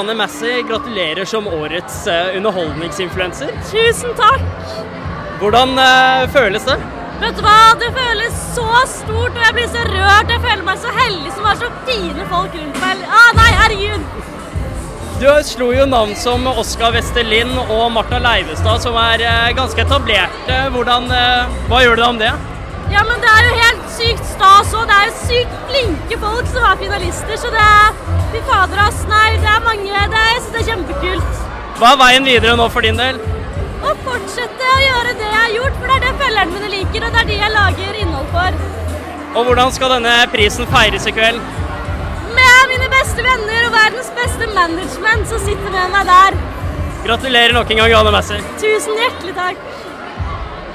Anne Massey, gratulerer som årets eh, underholdningsinfluenser. Tusen takk! Hvordan eh, føles det? Vet du hva, det føles så stort, og jeg blir så rørt. Jeg føler meg så heldig som har så fine folk rundt meg. Ah, nei, herregud! Du slo jo navn som Oskar Westerlind og Martha Leivestad, som er eh, ganske etablerte. Hvordan, eh, hva gjør du om det? Ja, men det er jo helt sykt stas òg. Det er jo sykt flinke folk som er finalister, så det er Fy fader, ass. Nei, det er mange. Det er, jeg synes det er kjempekult. Hva er veien videre nå for din del? Å fortsette å gjøre det jeg har gjort, for det er det følgerne mine liker, og det er de jeg lager innhold for. Og hvordan skal denne prisen feires i kveld? Med mine beste venner og verdens beste management som sitter med meg der. Gratulerer nok en gang, Anne Massey. Tusen hjertelig takk.